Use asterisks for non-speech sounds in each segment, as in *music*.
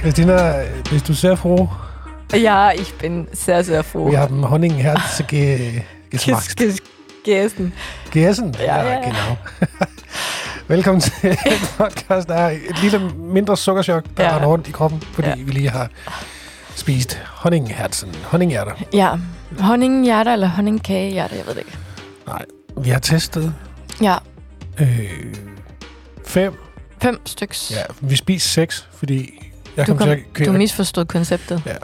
Christina, bist du sehr froh? Ja, ich bin sehr, sehr froh. Wir haben Honningherz ge Ges- gesmagt. ges- Gegessen. Gessen? Ja, ja, ja. genau. *laughs* Velkommen til en podcast. Der er et lille mindre sukkerchok, der Ja. ja. rundt i kroppen, fordi Ja. vi lige har spist honningherzen. Honninghjerter. Ja, honninghjerter eller honningkagehjerter, jeg ved det ikke. Vi har testet Ja, øh, fem. fem styks. Ja, vi spiste seks, fordi jeg Du, kom, kom, til at du købe... misforstod konceptet.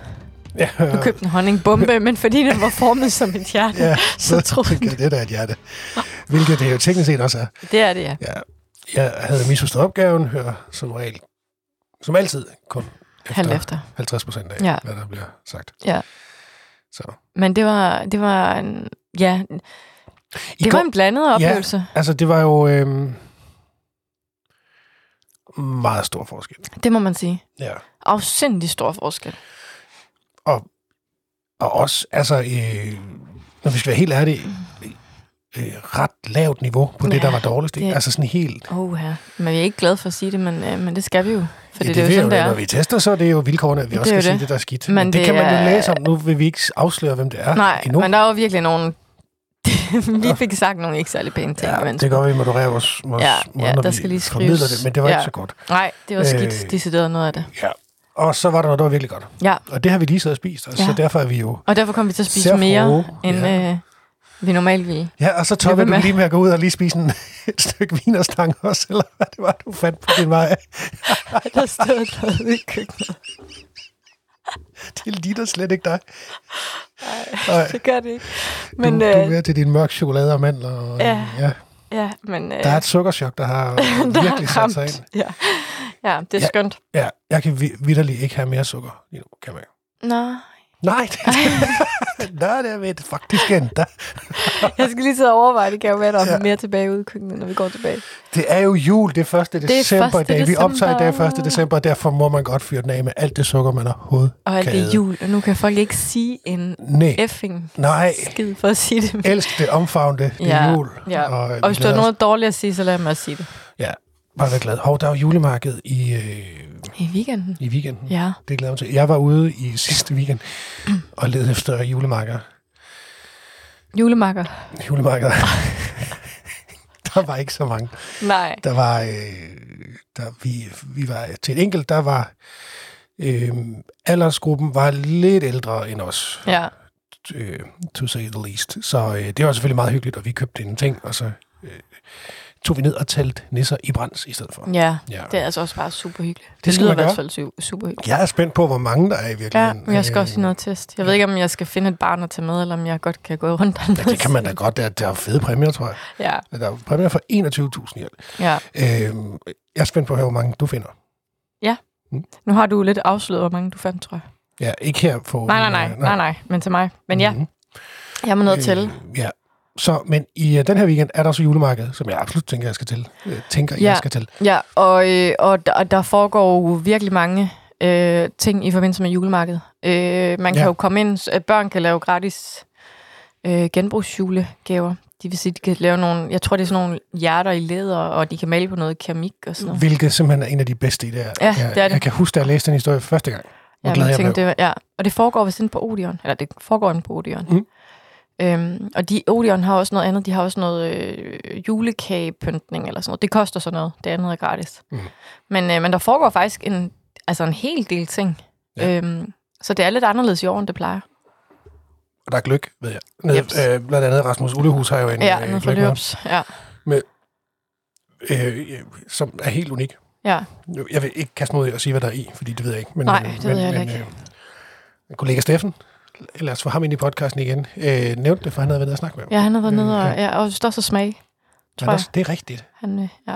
ja, Du købte en *laughs* honningbombe, men fordi den var formet som et hjerte, Ja, *laughs* så troede tænker jeg, det der er et hjerte. Hvilket det jo teknisk set også er. Det er det, ja. Ja, jeg havde misforstået opgaven, hører som regel, som altid, kun Halvt efter efter. 50 procent af, Ja. ja. hvad der bliver sagt. Ja. Så. Men det var, det var en, ja, I det går, var en blandet oplevelse. altså, det var jo øhm, meget stor forskel. Det må man sige. Ja. Afsindig stor forskel. Og også, altså, øh, når vi skal være helt ærlige, øh, ret lavt niveau på det, Ja, der var dårligst. Det. det- Altså sådan helt... Oh, ja. Men jeg er ikke glad for at sige det, men, øh, men det skal vi jo. Fordi Ja, det, det, det er jo ved sådan, jeg det Når er. vi tester, så er det jo vilkårene, at vi Det også er jo skal sige, det. det der er skidt. Men Men, Men det, det det kan man er- jo læse om. Nu vil vi ikke afsløre, hvem det er Nej, endnu. men der var virkelig nogen... *laughs* vi fik sagt nogle ikke særlig pæne ting. Ja, imens. det gør vi moderere vores, vores Ja, måde, ja, når der vi skal lige formidler skrives. det, men det var Ja. ikke så godt. Nej, det var skidt. Øh. Decideret noget af det. Ja. Og så var der noget, der var virkelig godt. Ja, Og det har vi lige siddet og spist, og ja. Ja. så derfor er vi jo... og derfor kom vi til at spise Ser mere, frue, end ja. øh, vi normalt *laughs* ville. Ja, og så Bliver ved toppede du med. lige med at gå ud og lige spise en, *laughs* et stykke vinerstang også, eller hvad det var, du fandt på din vej. Der stod noget i køkkenet. Det ligner slet ikke dig. Nej, Det gør det ikke. du, Men, du er øh, mere til din mørke chokolade og mandler. Og, Ja. ja. ja, men øh, Der er et sukkerchok, der har *laughs* der har virkelig sat sig ramt. ind. Ja. ja, det Ja. er ja. skønt. Ja, jeg kan vi- vitterlig ikke have mere sukker lige nu, kan man jo. Nå, Nej, *laughs* det, nej, det er ved faktisk endda. jeg skal lige sidde og overveje, det kan jo være, der er mere tilbage ude i køkkenet, når vi går tilbage. Det er jo jul, det er 1. er december i 1. dag. Vi optager i dag december. 1. december, og derfor må man godt fyre den af med alt det sukker, man overhovedet Og alt kan det er æde. jul, og nu kan folk ikke sige en Nej, effing nej. skid for at sige det. Elsk det, omfavn det. Det er Ja, jul. ja. Og, øh, vi Og hvis der er glæder os. noget dårligt at sige, så lad mig at sige det. Ja, bare vær glad. Hov, der er jo julemarked i, øh, I weekenden? i weekenden. Ja. Det glæder jeg mig til. Jeg var ude i sidste weekend og ledte efter julemarkeder. Julemakker? Julemarkeder. *laughs* der var ikke så mange. Nej. Der var, øh, der, vi, vi var til et enkelt, der var øh, aldersgruppen var lidt ældre end os, Ja. øh, to say the least. Så øh, det var selvfølgelig meget hyggeligt, og vi købte en ting, og så øh, tog vi ned og talte nisser i brands i stedet for. Ja. Ja. Mm. Det er altså også bare super hyggeligt. Det, skal lyder i man hvert gøre. fald su- super hyggeligt. Jeg er spændt på, hvor mange der er i Ja, virkeligheden. Øh, men jeg skal også i noget test. Jeg ved ikke, om jeg skal finde et barn at tage med, eller om jeg godt kan gå rundt Ja, dernede. det kan man da godt. Der, der er fede præmier, tror jeg. Ja, Der er præmier for 21.000 i alt. ja. Øhm, jeg er spændt på at høre, hvor mange du finder. Nu har du lidt afsløret, hvor mange du fandt, tror jeg. Ja, ikke her på... øh, Nej, nej, nej, nej, nej, men til mig. Men ja, Mhm. jeg må noget til. Øh, ja. Så, men i øh, den her weekend er der også julemarked, som jeg absolut tænker, jeg skal til. Øh, tænker, ja. Ja. jeg skal til. Ja, og, øh, og der, der foregår jo virkelig mange øh, ting i forbindelse med julemarkedet. Øh, man kan Ja. jo komme ind, s- øh, børn kan lave gratis øh, genbrugsjulegaver. De vil sige, de kan lave nogle, jeg tror det er sådan nogle hjerter i læder, og de kan male på noget keramik og sådan noget. Hvilket simpelthen er en af de bedste idéer. Ja, jeg, det er det. Jeg kan huske, da jeg læste den historie første gang. Hvor Ja, glad man jeg blev. tænkte, det var, ja. Og det foregår vist inde på Odeon. Eller det foregår inde på Odeon. Mm. Mm. Øhm, og de, Odeon har også noget andet. De har også noget øh, julekagepyntning eller sådan noget. Det koster sådan noget. Det andet er gratis. Mm. Mm. Men, øh, men der foregår faktisk en, altså en hel del ting. Ja. Ja. Øhm, så det er lidt anderledes i år, end det plejer. Og der er gløk, ved jeg. Nede, Jeps. øh, blandt andet Rasmus Ullehus har jo en øh, Ja, noget for gløgg med ham, løbs. Ja. øh, øh, som er helt unik. ja. Nu- Jeg vil ikke kaste mig ud i at sige, hvad der er i, fordi det ved jeg ikke. Men, Nej, øh, det ved jeg heller ikke. øh, kollega Steffen, øh, lad os få ham ind i podcasten igen, øh, nævnte det, for han havde været nede og snakke med ham. ja, han har været Øh, nede og, ja. ja, og størst og smag. Men tror jeg. også, det er rigtigt. Han, øh, ja.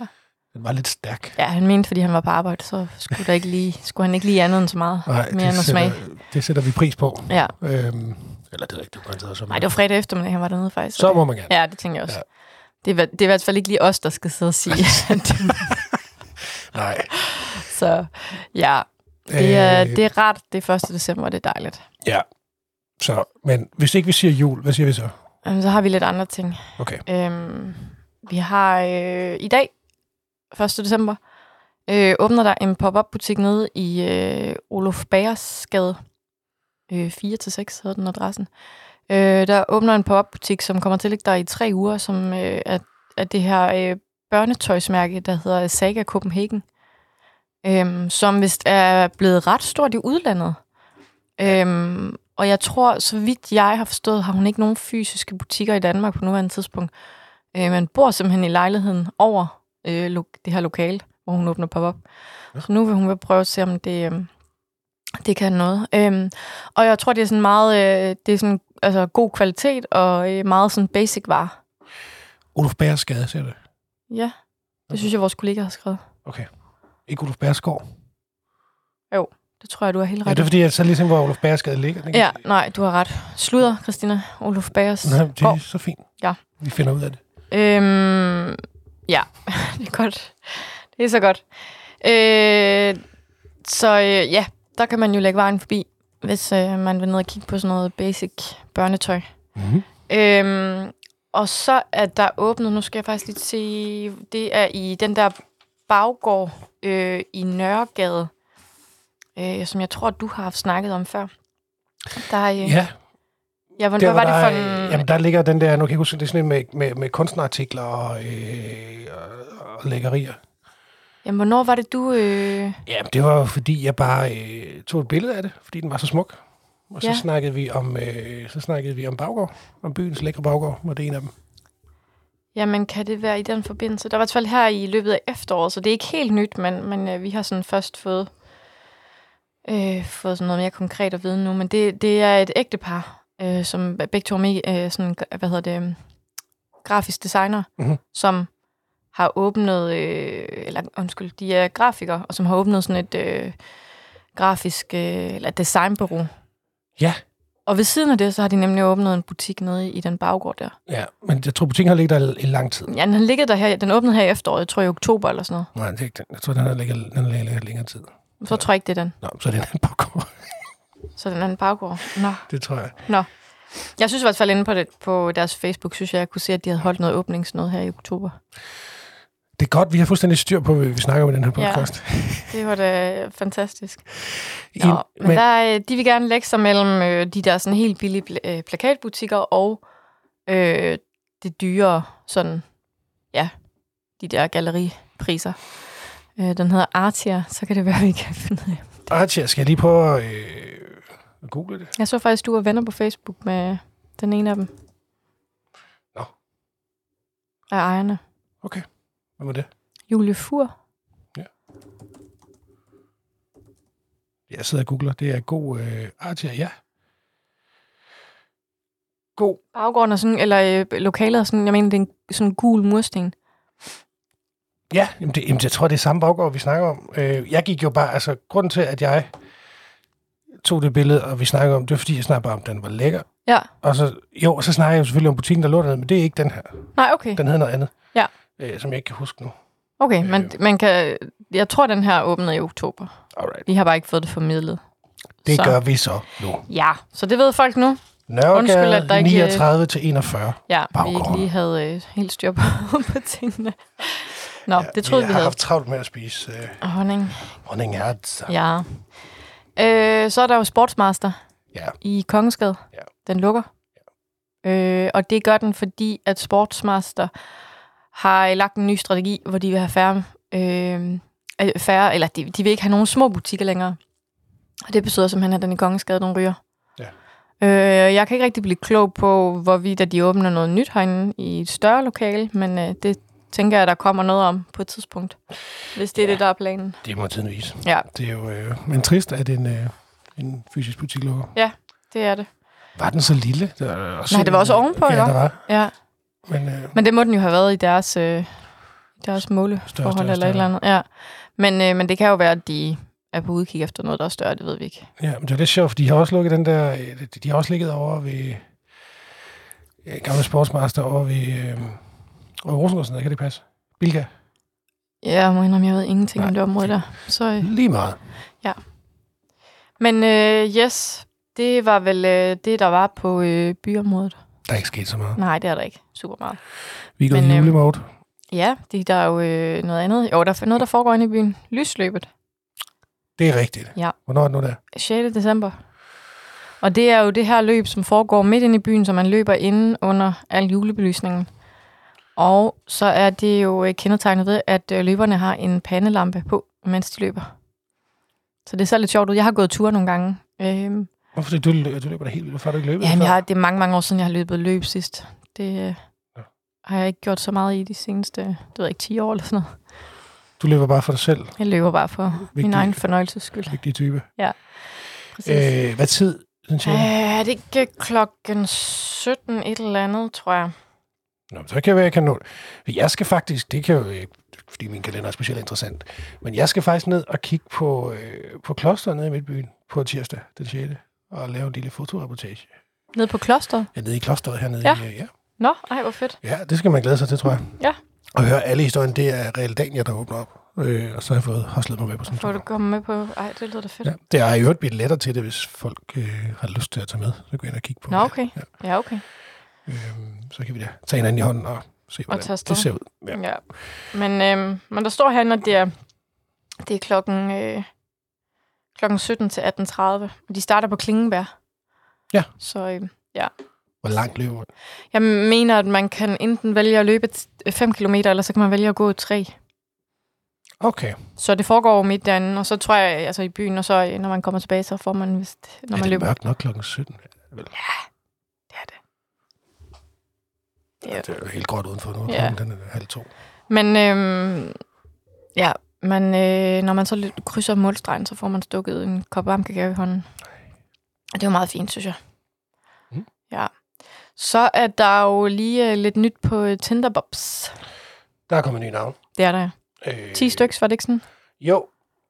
Den var lidt stærk. ja, han mente, fordi han var på arbejde, så skulle, der ikke lige, skulle han ikke lige andet end så meget. Nej, mere end det, at smage. sætter, det sætter vi pris på. Ja. Øhm, eller det ved jeg ikke, du kan sidde som. Nej, det var fredag eftermiddag, han var dernede faktisk. Så må man gerne. Ja, det tænker jeg også. Ja. Ja. Det, er, hver- det er i hvert fald ikke lige os, der skal sidde og *laughs* sige, at det Nej. Øh, Så ja, det er, det er rart. Det er 1. december, det er dejligt. Ja. Så, men hvis ikke vi siger jul, hvad siger vi så? Øhm, Så har vi lidt andre ting. Okay. Øhm, vi har øh, i dag, 1. december, øh, åbner der en pop-up-butik nede i øh, Olof Bagers gade. Øh, 4-6 hedder den adressen. Øh, der åbner en pop-up-butik, som kommer til at ligge der i tre uger, som øh, er, er det her øh, børnetøjsmærke, der hedder Saga Copenhagen. Øhm, som vist er blevet ret stort i udlandet. Øhm, og jeg tror, så vidt jeg har forstået, har hun ikke nogen fysiske butikker i Danmark på nuværende tidspunkt. Øh, man bor simpelthen i lejligheden over øh, lo- det her lokale, hvor hun åbner pop-up. Ja. Så nu vil hun vil prøve at se, om det, øh, det kan noget. Øh, og jeg tror, det er sådan meget øh, det er sådan, altså, god kvalitet og øh, meget sådan basic varer. Olof Bærs gade, siger det. Ja, Okay. det synes jeg, vores kollega har skrevet. Okay. Ikke Olof Bærs gård. Det tror jeg, du har helt Ja, ret. det er fordi, jeg så ligesom, hvor Olof Bærs gade ligger. Den kan- ja, nej, du har ret. Sluder, Christina. Olof Bagers. Nej, det er gård. så fint. Ja. Vi finder ud af det. Øhm, ja, *laughs* det er godt. Det er så godt. Øh, så øh, ja, der kan man jo lægge vejen forbi, hvis øh, man vil ned og kigge på sådan noget basic børnetøj. Mm-hmm. Øhm, og så er der åbnet, nu skal jeg faktisk lige se, det er i den der baggård øh, i Nørregade, øh, som jeg tror, du har haft snakket om før. Der er, øh, ja, Ja, ja, men der, hvad var hvor det der for er- en... Jamen, der ligger den der, nu kan jeg ikke huske, det er sådan en med, med, med kunstnerartikler og, øh, og, og lækkerier. Jamen, hvornår var det, du... Øh, Jamen, det var jo fordi, jeg bare øh, tog et billede af det, fordi den var så smuk. Og så, Ja. ja. snakkede vi om, øh, så snakkede vi om baggård, om byens lækre baggård, hvor det er en af dem. Jamen, kan det være i den forbindelse? Der var i hvert fald her i løbet af efteråret, så det er ikke helt nyt, men, men øh, vi har sådan først fået, øh, fået sådan noget mere konkret at vide nu. Men det, det er et ægtepar, øh, som begge to er me- øh, sådan, hvad hedder det, øh, grafisk designer, Mhm. som har åbnet, øh, eller undskyld, de er grafikere, og som har åbnet sådan et øh, grafisk, øh, eller designbureau. Ja. Og ved siden af det, så har de nemlig åbnet en butik nede i den baggård der. Ja, men jeg tror, butikken har ligget der i lang tid. Ja, den har ligget der her, den åbnede her i efteråret, jeg tror i oktober eller sådan noget. Nej, det er ikke den. Jeg tror, den har ligget, den har ligget der længere tid. Men Så tror jeg ikke, det er den. Nå, så er det en anden baggård. Så er den anden baggård. Nå. *laughs* Det tror jeg. Jeg synes i hvert fald inde på, det, på deres Facebook, synes jeg, jeg kunne se, at de havde holdt noget åbningsnød her i oktober. Det er godt, vi har fuldstændig styr på, hvad vi snakker om i den her Ja. podcast. Det var da fantastisk. Ja. Nå, men, men men, der, øh, de vil gerne lægge sig mellem øh, de der sådan helt billige pl- øh, plakatbutikker og øh, det dyre, sådan, ja, de der galleripriser. Øh, den hedder Artia, så kan det være, vi kan finde ud af. Archie, skal jeg lige prøve at øh, google det? Jeg så faktisk, du var venner på Facebook med den ene af dem. Nå. Af ejerne. Hvad var det? Julie Fur. Jeg sidder og googler. Det er god øh, Archie, ja. God Baggården er sådan, eller øh, lokalet er sådan, jeg mener, det er en sådan gul mursten. Ja, jamen det, jamen jeg tror, det er samme baggård, vi snakker om. Øh, jeg gik jo bare, altså grunden til, at jeg tog det billede, og vi snakkede om det, var fordi jeg snakkede bare om, at den var lækker. Ja. Og så, jo, og så snakker jeg jo selvfølgelig om butikken, der lå dernede, men det er ikke den her. Nej, okay. Den hedder noget andet. Ja. Øh, som jeg ikke kan huske nu. Okay, men man kan, jeg tror, den her åbnede i oktober. Alright. De har bare ikke fået det formidlet. Det så. så. gør vi så nu. Ja, så det ved folk nu. Undskyld, at der Nørregade ikke- 39 til 41. Ja, vi Baggården. ikke lige havde øh, helt styr på, *laughs* på tingene. Nå, ja, det troede vi, vi vi har havde. haft travlt med at spise øh, Og honning. honningherz. Ja. Ja. Øh, så er der jo Sportsmaster Ja. i Kongensgade. Ja. Den lukker. Ja. Øh, og det gør den, fordi at Sportsmaster har øh, lagt en ny strategi, hvor de vil have færre, øh, øh, færre eller de, de vil ikke have nogen små butikker længere. Og det betyder simpelthen, at den i Kongensgade, den ryger. Ja. Øh, jeg kan ikke rigtig blive klog på, hvorvidt at de åbner noget nyt herinde i et større lokale, men øh, det tænker jeg, der kommer noget om på et tidspunkt, hvis det er ja. Ja. det, der er planen. Det må tiden vise. Ja. Det er jo, øh, men trist, at en, øh, en fysisk butik lukker. Det er det. Var den så lille? Det var også Nej, det var også ovenpå, Ja, ikke? der var. Ja, Men, øh, men det må den jo have været i deres, øh, deres måleforhold Større, større, eller et eller andet. Ja. Men, øh, men det kan jo være, at de er på udkig efter noget, der er større, det ved vi ikke. Ja, men det er lidt sjovt, for de har også lukket den der, øh, de- de har også ligget over ved øh, gamle sportsmaster over ved, øh, over ved Rosengård, sådan kan det passe? Bilka. Ja, jeg må indrømme, jeg ved ingenting Nej. om Nej. det område der. Så, øh. Lige meget. Men øh, yes, det var vel øh, det, der var på øh, byområdet. Der er ikke sket så meget. Nej, det er der ikke super meget. Vi er gået Men, i øhm, julemode. Ja, de, der er jo øh, noget andet. Jo, der er noget, der foregår inde i byen. Lysløbet. Det er rigtigt. Ja. Hvornår er det nu der? 6. december. Og det er jo det her løb, som foregår midt inde i byen, som man løber inde under al julebelysningen. Og så er det jo øh, kendetegnet ved, at øh, løberne har en pandelampe på, mens de løber. Så det ser lidt sjovt ud. Jeg har gået ture nogle gange. Øhm, Hvorfor det, du, lø- du løber da helt? Hvorfor har du ikke løbet? ja, før? jeg har, det er mange, mange år siden, jeg har løbet løb sidst. Det øh, Ja. har jeg ikke gjort så meget i de seneste, det ved jeg ikke, 10 år eller sådan noget. Du løber bare for dig selv. Jeg løber bare for min Vigtigt. egen fornøjelses skyld. Vigtig type. Præcis. Øh, hvad tid? Den siger øh. Øh, er det ikke klokken 17 et eller andet, tror jeg? Nå, men så kan jeg være, jeg kan nå det. Jeg skal faktisk, det kan jo ikke, fordi min kalender er specielt interessant, men jeg skal faktisk ned og kigge på, øh, på klosteret nede i Midtbyen på tirsdag den 6. og lave en lille fotoreportage. Nede på klosteret? Jeg er nede i klosteret hernede. Ja. i, øh, ja. Nå, ej, hvor fedt. Ja, det skal man glæde sig til, tror jeg. Ja. Og høre alle historien, det er Real Dania, der åbner op. Øh, og så har jeg fået hoslet mig med på sådan en Får du tur. komme med på... Ej, det lyder da fedt. Ja, det er i øvrigt blevet lettere til det, hvis folk øh, har lyst til at tage med. Så gå ind og kigge på Nå, det. okay. Ja. Ja, okay. Øhm, så kan vi da tage hinanden i hånden og se, hvordan tage afsted. det ser ud. Ja. Ja. Men, øhm, men der står herinde, at det er, det er klokken, øh, klokken 17 til 18.30. Og de starter på Klingenberg. Ja. Så øh, Hvor langt løber man? jeg mener, at man kan enten vælge at løbe 5 km, eller så kan man vælge at gå 3. Okay. Så det foregår jo midt derinde, og så tror jeg, altså i byen, og så øh, når man kommer tilbage, så får man vist, når er man det løber. mørkt nok klokken 17? Det er det. Ja. Ja. Det er jo helt godt udenfor nu. Ja. Ja. Den er halv to. Men øhm, ja, man, øh, når man så lidt krydser målstregen, så får man stukket en kop varm kakao i hånden. Og det var meget fint, synes jeg. Mm. Ja. Så er der jo lige øh, lidt nyt på øh, Tinderbobs. Der er kommet nye navn. Det er der. Øh, 10 stykker, var det ikke sådan? Jo,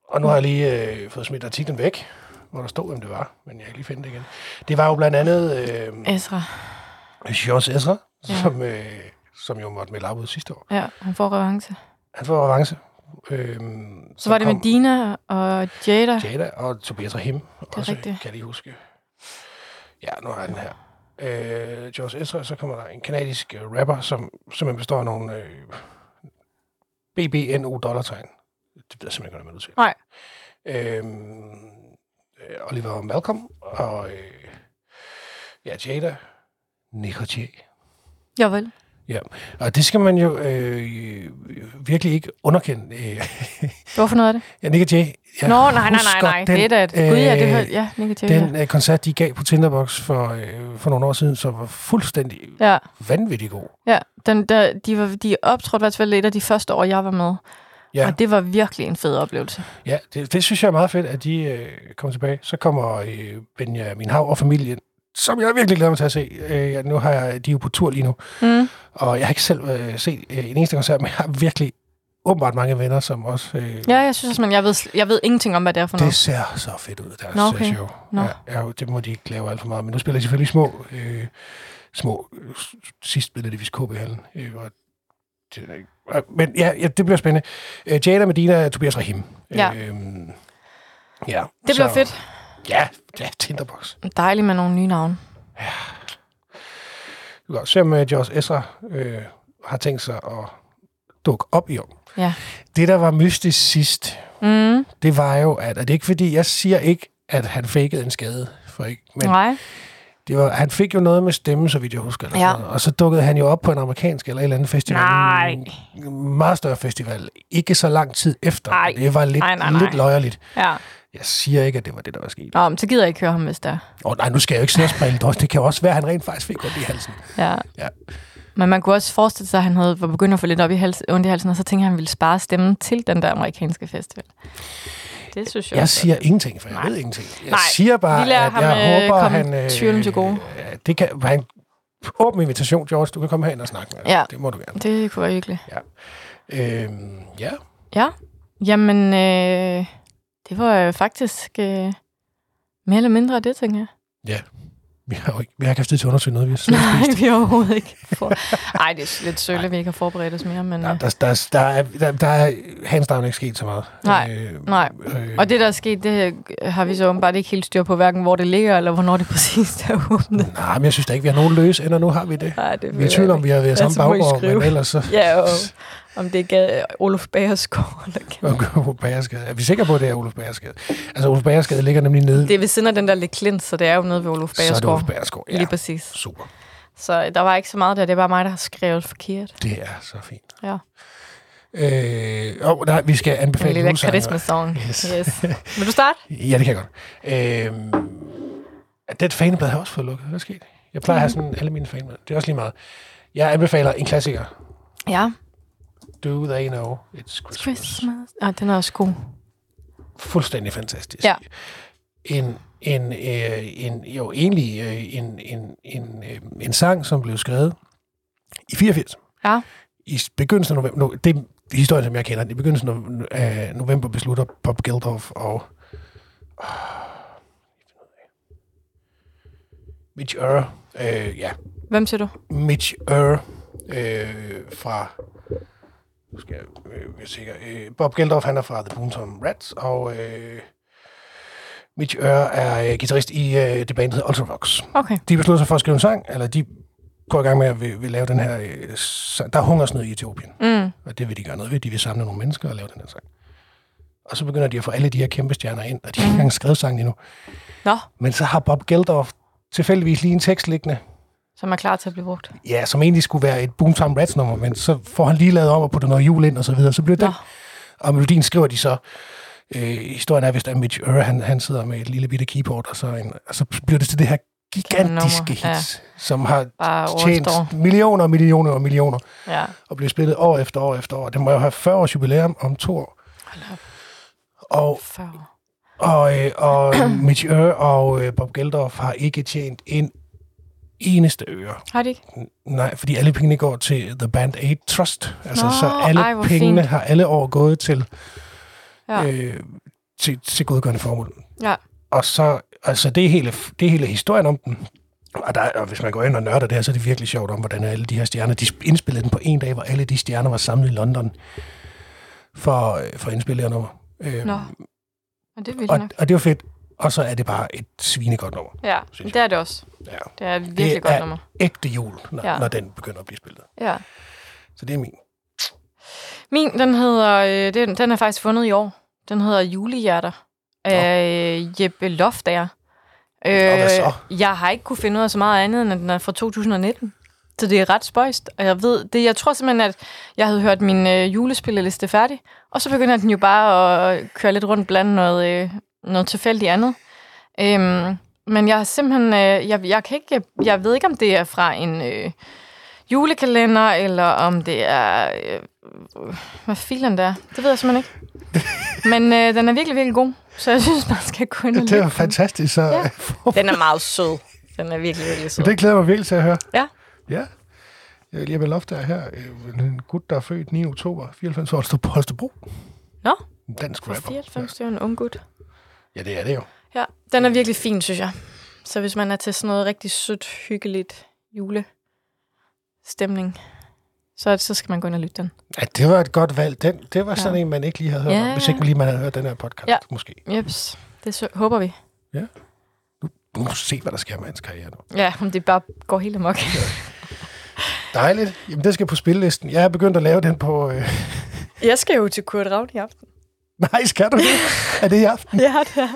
og nu har jeg lige øh, fået smidt artiklen væk, hvor der stod, hvem det var. Men jeg kan lige finde det igen. Det var jo blandt andet øh, Ezra. George Ezra, Ja. ja. som, øh, som jo måtte melde afbud sidste år. Ja, han får revanche. Han får avance. Øh, Så var det med Dina og Jada. Jada og Tobias Rahim. Det er også, rigtigt. Kan jeg lige huske. Ja, nu har jeg den her. Øh, George Ezra, så kommer der en kanadisk øh, rapper, som simpelthen består af nogle øh, BBNO dollartegn. Det ved jeg simpelthen ikke, hvad Nej. man udtaler. Øhm, Øh, Oliver Malcolm og øh, ja, Jada Nicotier. Ja, vel. Og det skal man jo øh, virkelig ikke underkende. Øh, Hvorfor noget af det? ja, Nicotier. Nå, nej, nej, nej, nej. det er da et... Gud, ja, det hørte... Ja, Nick og Jay, Den øh, koncert, de gav på Tinderbox for, øh, for nogle år siden, som var fuldstændig ja. ja. vanvittig god. Ja, den der, de, var, de optrådte i hvert fald et af de første år, jeg var med. Ja. Ja. Og det var virkelig en fed oplevelse. Ja, det, det synes jeg er meget fedt, at de øh, kommer tilbage. Så kommer øh, Benjamin Hav og familien, som jeg virkelig glæder mig til at se. Øh, ja, nu har jeg, de er jo på tur lige nu, Mm. og jeg har ikke selv øh, set øh, en eneste koncert, men jeg har virkelig åbenbart mange venner, som også... Øh, Ja, jeg synes også, men jeg ved, sl- jeg ved ingenting om, hvad det er for Det noget. ser så fedt ud, deres Nå, Nå, okay. okay. show. Nå. Ja, ja, jo, det må de ikke lave alt for meget, men nu spiller de selvfølgelig små, øh, små øh, s- sidst spillede de vist KB Hallen. Øh, og det, er ikke- og- men ja, ja, det bliver spændende. Øh, Jada Medina og Tobias Rahim. Ja. Øh, ja. Det bliver fedt. Ja, ja Tinderbox. Dejligt med nogle nye navne. Du kan også se, om uh, Josh Esra øh, har tænkt sig at dukke op i år. Ja. Det, der var mystisk sidst, Mm. det var jo, at og det er ikke fordi, jeg siger ikke, at han fakede en skade, for ikke, men Nej. Det var, han fik jo noget med stemme, så vidt jeg husker. Eller Ja. ja. noget. Og så dukkede han jo op på en amerikansk eller et eller andet festival. Nej. En meget større festival. Ikke så lang tid efter. Nej. Det var lidt, Nej, nej, nej, nej, nej. lidt løjerligt. Ja. Jeg siger ikke, at det var det, der var sket. Nå, men så gider jeg ikke høre ham, hvis det er. Åh oh, nej, nu skal jeg jo ikke sidde og spille drøs. Det kan jo også være, at han rent faktisk fik ondt i halsen. Ja. Ja. Men man kunne også forestille sig, at han havde, var begyndt at få lidt op i hals, ondt i halsen, og så tænkte jeg, at han ville spare stemmen til den der amerikanske festival. Det synes jeg Jeg også siger ingenting, for jeg Nej. ved ingenting. Jeg Nej. siger bare, Vi lader at ham, jeg øh, håber, komme han... Øh, tvivlen til gode. ja, Det kan, han, åben invitation, George. Du kan komme herind og snakke med os. Ja. Det må du gerne. Det kunne være hyggeligt. Øhm, ja. Jamen, øh, det var øh, faktisk øh, mere eller mindre det, tænker jeg. Vi har jo ikke, vi har ikke haft tid til at undersøge noget, vi har *laughs* siddet og spist. Nej, vi har overhovedet ikke. For... *laughs* Ej, det er lidt sølle, at vi ikke har forberedt os mere. Men, Der, øh, der, der, der, er, der, der er hands down ikke sket så meget. Nej, øh, nej. Øh, og det, der er sket, det øh, har vi så åbenbart ikke helt styr på, hverken hvor det ligger, eller hvornår det *laughs* præcis er åbnet. Nej, men jeg synes da ikke, vi har nogen løs, ender nu har vi det. Nej, det Vi er i tvivl om, vi har været Altså, samme må I baggård, skrive. men ellers så... Ja, og, Om det er Ga- Olof Bagerskov eller Ga- Olof Bagerskade. Er vi sikre på, at det er Olof Bagerskade? Altså, Olof Bagerskade ligger nemlig nede. Det er ved siden af den der lidt klint, så det er jo nede ved Olof så er det Bagerskov. Olof Bagerskov. Lige Ja, præcis. super. Så øh, der var ikke så meget der. Det er bare mig, der har skrevet forkert. Det er så fint. Ja. Øh, oh, nej, vi skal anbefale En lille julesange. karisma-song. *laughs* Yes. yes. Vil du starte? Ja, det kan jeg godt. Øh, det faneblad har jeg også fået lukket. Hvad er sket? Jeg plejer at have sådan alle mine faneblad. Det er også lige meget. Jeg anbefaler en klassiker. Ja. Do They Know It's Christmas. Christmas. Ah, den er også god. Fuldstændig fantastisk. Ja. En, en, øh, en, jo, egentlig øh, en, en, en, øh, en sang, som blev skrevet i 84. Ja. I begyndelsen af november, no, det er historien, som jeg kender, den. i begyndelsen af- af november beslutter Bob Geldof og øh, Mitch Ure, øh, ja, Hvem siger du? Mitch Ure øh, fra... Nu skal jeg øh, være sikker. Øh, Bob Geldof, han er fra The Boomtown Rats, og øh, Mitch Ure er øh, guitarist i øh, det band, der hedder Ultravox. Okay. De besluttede sig for at skrive en sang, eller de går i gang med at vil, vil lave den her... Øh, sang. Der er hungersnød i Etiopien, Mm. og det vil de gøre noget ved. De vil samle nogle mennesker og lave den her sang. Og så begynder de at få alle de her kæmpe stjerner ind, og de har ikke engang skrevet sangen endnu. Nå, Men så har Bob Geldof tilfældigvis lige en tekst liggende, som er klar til at blive brugt. ja, som egentlig skulle være et Boomtown Rats nummer, men så får han lige lavet om og putter noget jul ind og så videre. Så bliver det Nå. den. Og melodien skriver de så. Øh, historien er, hvis der er Mitch Ure, han, han sidder med et lille bitte keyboard, og så, en, og så bliver det til det her gigantiske Nummer, ja. hit, ja. som har Bare tjent overstår. millioner og millioner og millioner, Ja. og bliver spillet år efter år efter år. Det må jo have 40 års jubilæum om to år. Og, Før. og, øh, og *clears throat* Mitch Ure og øh, Bob Geldof har ikke tjent en eneste øre. Har de ikke? Nej, fordi alle pengene går til The Band Aid Trust. Altså, Nå, så alle ej, hvor pengene fint. har alle år gået til, Ja. ja. øh, til, til godgørende formål. Ja. Og så, altså, det er hele, det er hele historien om den. Og, der, og hvis man går ind og nørder det her, så er det virkelig sjovt om, hvordan alle de her stjerner, de indspillede den på en dag, hvor alle de stjerner var samlet i London for, øh, for at indspille det her nummer. Øh, Nå. Og det er vildt og, nok. og det var fedt. Og så er det bare et svinegodt nummer. Ja, synes det er det også. Ja. Det er et virkelig det godt er nummer. ægte jul, når, Ja. ja. når den begynder at blive spillet. Ja. Så det er min. Min, den hedder, øh, den, den er faktisk fundet i år. Den hedder Julehjerter af øh, Jeppe Loftager. Øh, hvad så? jeg har ikke kunne finde ud af så meget andet, end at den er fra 2019. Så det er ret spøjst, og jeg ved det. Jeg tror simpelthen, at jeg havde hørt min øh, julespilleliste færdig, og så begynder den jo bare at køre lidt rundt blandt noget, øh, noget tilfældigt andet. Øhm, men jeg har simpelthen, øh, jeg, jeg, kan ikke, jeg ved ikke, om det er fra en øh, julekalender, eller om det er øh, hvad filen der? Det ved jeg simpelthen ikke. Men øh, den er virkelig, virkelig god, så jeg synes, man skal gå ind og Det var lytte til den. fantastisk. Så, øh, Ja. ja. Den er meget sød. Den er virkelig, virkelig sød. det glæder jeg mig virkelig til at høre. Ja. Ja. Jeg vil lige have loft der her. øh, En gut, der er født 9. oktober 94 år, der står på Holstebro. Nå, En Dansk for rapper. 94 det er jo en ung gut. Ja, det er det jo. Ja, den er virkelig fin, synes jeg. Så hvis man er til sådan noget rigtig sødt, hyggeligt julestemning, så, så skal man gå ind og lytte den. Ja, det var et godt valg. Den, det var sådan ja. en, man ikke lige havde hørt Ja, om, hvis ja. ikke man lige man havde hørt den her podcast, Ja. ja. måske. Jeps, det så, håber vi. Nu må vi se, hvad der sker med hans karriere nu. Ja, om det bare går helt amok. Dejligt. Jamen, det skal på spillelisten. Jeg er begyndt at lave den på... Øh... *laughs* *laughs* Jeg skal jo til Kurt Ravn i aften. Nej, skal du det? Er det i aften? Ja, det er.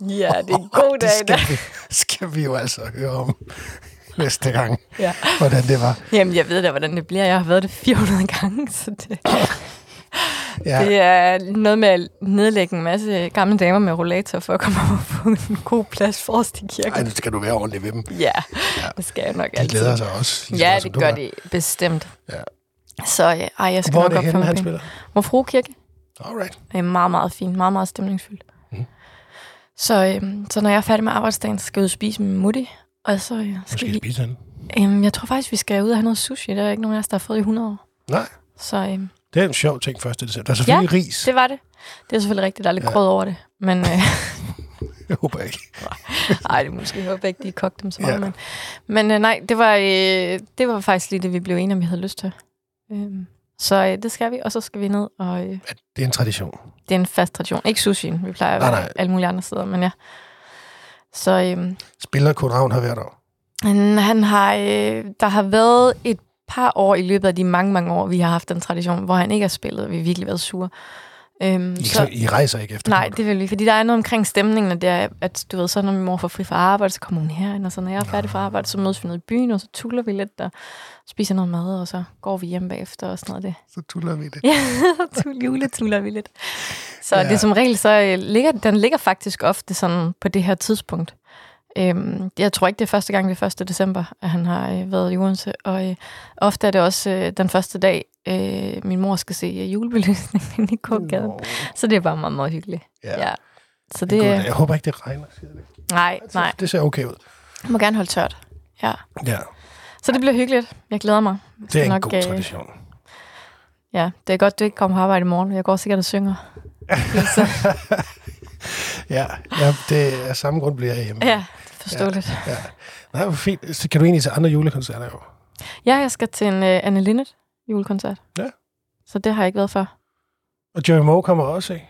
Ja, det er en god det dag. i skal dag. vi, skal vi jo altså høre om næste gang, Ja. hvordan det var. Jamen, jeg ved da, hvordan det bliver. Jeg har været det 400 gange, så det, Ja. det er noget med at nedlægge en masse gamle damer med rollator for at komme op og få en god plads forrest i Ej, kirken. nu skal du være ordentlig ved dem. Ja, det skal jeg nok De altid. glæder sig også. lige så Ja, meget, som det du gør gør. de bestemt. Ja. Så øh, ej, jeg skal Hvor er nok det op for henne, han mig. spiller? Hvor Frue Kirke Alright. er meget, meget fin, meget, meget stemningsfyldt. Mhm. Så, øh, så når jeg er færdig med arbejdsdagen, så skal jeg ud og spise med Mutti. Og så øh, skal, Måske vi... spise han. Øhm, jeg tror faktisk, vi skal ud og have noget sushi. Der er ikke nogen af os, der har fået i 100 år. Nej, Så øhm, det er en sjov ting 1. december. Der er selvfølgelig ja, ris. Det... det var det. Det er selvfølgelig rigtigt, der er lidt ja. Ja. grød over det. Men øh, *laughs* Jeg håber jeg ikke. ej, det er måske jeg håber ikke, de kogte dem så meget. Ja. Ja. Men, men øh, nej, det var, øh, det var faktisk lige det, vi blev enige om, vi havde lyst til. Øhm, så øh, det skal vi, og så skal vi ned, og øh, At det er en tradition. det er en fast tradition. Ikke sushien, vi plejer at Nej, være nej. alle mulige andre steder, men ja. Så øhm, Spiller Kurt Ravn her hvert år. han, han har, øh, der har været et par år i løbet af de mange, mange år, vi har haft den tradition, hvor han ikke har spillet, og vi har virkelig været sure. Øhm, I, så, I rejser ikke efter Nej, Knud? det vil vi, fordi der er noget omkring stemningen, og det er, at du ved, så når min mor får fri fra arbejde, så kommer hun herind, og så når jeg er færdig fra arbejde, så mødes vi nede i byen, og så tuller vi lidt, og spiser noget mad, og så går vi hjem bagefter og sådan noget af det. Så tuller vi det. *laughs* Ja, tul- juletuller vi lidt. Så ja. Ja. det er som regel, så øh, ligger, den ligger faktisk ofte sådan på det her tidspunkt. Øhm, jeg tror ikke, det er første gang, det er 1. december, at han har øh, været i Odense. Og øh, ofte er det også øh, den første dag, øh, min mor skal se øh, *laughs* julebelysningen i Kågaden. Nå, Så det er bare meget, meget hyggeligt. Ja. ja. Så Det... det, Godt, jeg håber ikke, det regner. siger jeg det. nej, nej, Det ser okay ud. jeg må gerne holde tørt. Ja. Ja, Så det bliver hyggeligt. Jeg glæder mig. Jeg det skal er en nok, god øh, tradition. *laughs* Ja, det er godt, du ikke kommer på arbejde i morgen. Jeg går sikkert og synger. Så, Ja, ja det er samme grund, bliver jeg hjemme. ja, forståeligt. ja. Nej, hvor fint. Så kan du egentlig til andre julekoncerter jo. Ja, jeg skal til en uh, Anne Linnet julekoncert. Ja. Så det har jeg ikke været før. Og Joey Moe kommer også, ikke?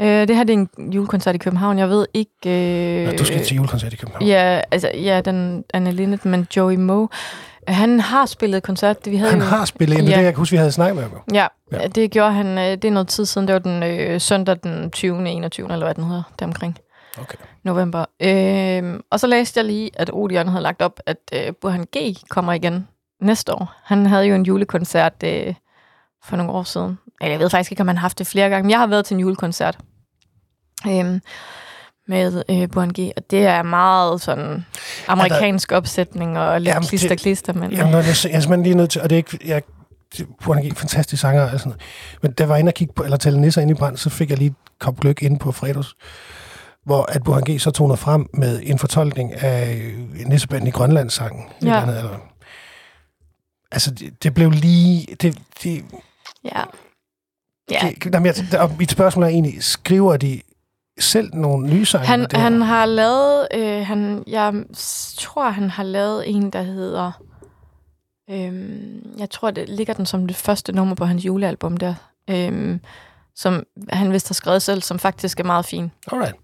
Øh, det her det er en julekoncert i København. Jeg ved ikke... Øh, Nå, du skal til julekoncert i København. Ja, altså, ja, den Anne Linnet, men Joey Moe. Han har spillet koncert. Vi havde Han jo- har spillet ind, ja. Ja. det jeg kan huske, vi havde snakket med ham. jo. Ja, Ja. ja, det gjorde han. øh, Det er noget tid siden. Det var den øh, søndag den 20. 21. eller hvad den hedder, deromkring Okay. november. Øh, og så læste jeg lige, at Odion havde lagt op, at øh, Burhan G. kommer igen næste år. Han havde jo en julekoncert øh, for nogle år siden. Eller jeg ved faktisk ikke, om han har haft det flere gange, men jeg har været til en julekoncert øh, med øh, Burhan G. Og det er meget sådan amerikansk opsætning og lidt Jamen, det- klister-klister. Men, Jamen, jeg, jeg er simpelthen lige nødt til, og det er ikke, jeg, Burhan G, fantastisk sanger og sådan noget. Men da jeg var inde og kigge på, eller tælle nisser inde i brand, så fik jeg lige et kop gløk inde på fredags, hvor at Burhan G så tog noget frem med en fortolkning af øh, Nissebanden i Grønlandssangen. et Ja. Eller andet, eller, altså, det, det, blev lige... Det, det, ja. ja. det, jamen, jeg, og mit spørgsmål er egentlig, skriver de selv nogle nye sange? med Han, det her? han har lavet, øh, han, jeg s- tror, han har lavet en, der hedder, øhm, jeg tror, det ligger den som det første nummer på hans julealbum der, øhm, som han vist har skrevet selv, som faktisk er meget fin. Alright.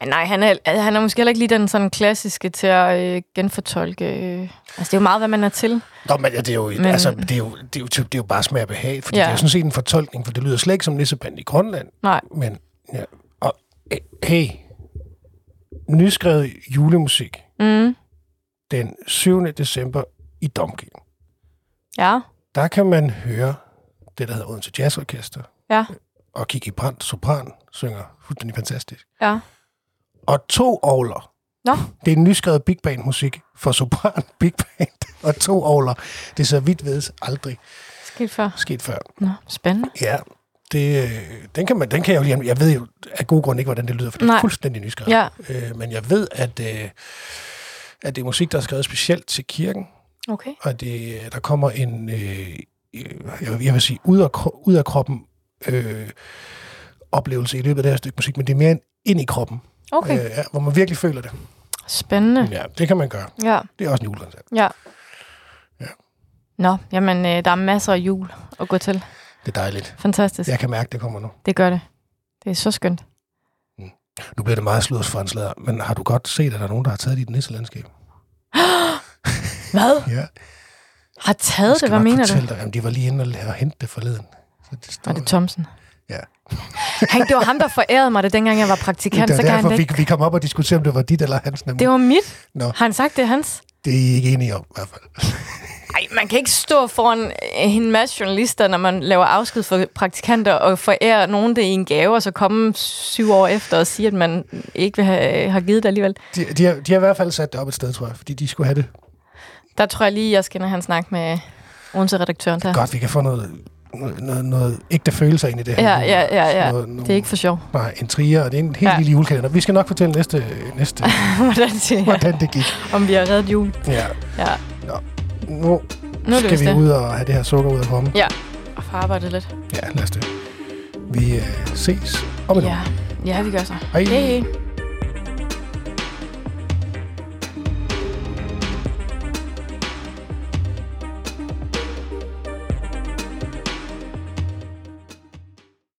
Men nej, han er, altså, han er måske heller ikke lige den sådan klassiske til at øh, genfortolke. Øh. Altså, det er jo meget, hvad man er til. Nå, men ja, det er jo, men... Men- altså, det er jo, det er jo, det er jo bare smag og behag, fordi ja. Ja. det er jo sådan set en fortolkning, for det lyder slet ikke som Nissebanden i Grønland. Nej, Men, ja. Og, eh, hey, nyskrevet julemusik mm, den 7. december i Domkirken. ja, Der kan man høre det, der hedder Odense Jazz Orkester, ja, og Kiki Brandt, sopran, synger fuldstændig fantastisk. ja. Og to ovler. Nå, Det er en nyskrevet big band musik for sopran, big band og to ovler. Det er så vidt vedes aldrig skidt for. sket før. Nå, spændende. Ja, det, øh, den, kan man, den kan jeg jo lige... Jeg ved jo af god grund ikke, hvordan det lyder, for det er Nej. fuldstændig nyskrevet. Ja, Øh, men jeg ved, at, øh, at det er musik, der er skrevet specielt til kirken, okay. og det, der kommer en, øh, øh, jeg, vil- jeg vil sige, ud af, kro- ud af kroppen øh, oplevelse i løbet af det her stykke musik, men det er mere en ind i kroppen, øh, Okay, ja, hvor man virkelig føler det. spændende. Ja, det kan man gøre. Ja. Det er også en julekoncert. Ja. Ja. Nå, jamen, øh, der er masser af jul at gå til. Det er dejligt. Fantastisk. Ja. Jeg kan mærke, det kommer nu. Det gør det. Det er så skønt. Nu bliver det meget sluders for en sladder, men har du godt set, at der er nogen, der har taget dit nisselandskab? Hvad? Ja, Har taget det? skal Hvad nok mener du? fortælle Dig. Jamen, de var lige inde og og hente det forleden. Så det står Var det Thomsen? Ja. *laughs* Han, det var ham, der forærede mig det, dengang jeg var praktikant. det Så var kan han derfor, det vi, ikke. vi kom op og diskuterede, om det var dit eller hans nemlig. Det var mit. Nå. Har han sagt, det er hans? Det er I ikke enige om, i hvert fald. Nej, man kan ikke stå foran øh, en masse journalister, når man laver afsked for praktikanter, og forære nogen det i en gave, og så komme syv år efter og sige, at man ikke vil have, øh, har givet det alligevel. De, de, har, de har i hvert fald sat det op et sted, tror jeg, fordi de skulle have det. Der tror jeg lige, jeg skal ind og have en snak med Odense-redaktøren der. Godt, vi kan få noget, noget, noget, noget ægte følelser ind i det her. Ja, ja, ja, ja. Noget, nogle, Det er ikke for sjov. *laughs* Nej, en trier, og det er en helt ja. Ja. lille julekalender. Vi skal nok fortælle næste, *laughs* næste Hvordan det er, hvordan det gik. om vi har reddet jul. Ja. Ja, Nu, nu er det skal vist vi det. ud og have det her sukker ud af pommen. Ja, og få arbejdet lidt. Ja, lad os det. Vi øh, ses om en uge. Ja, ja vi gør så. Hej. Hej. hej.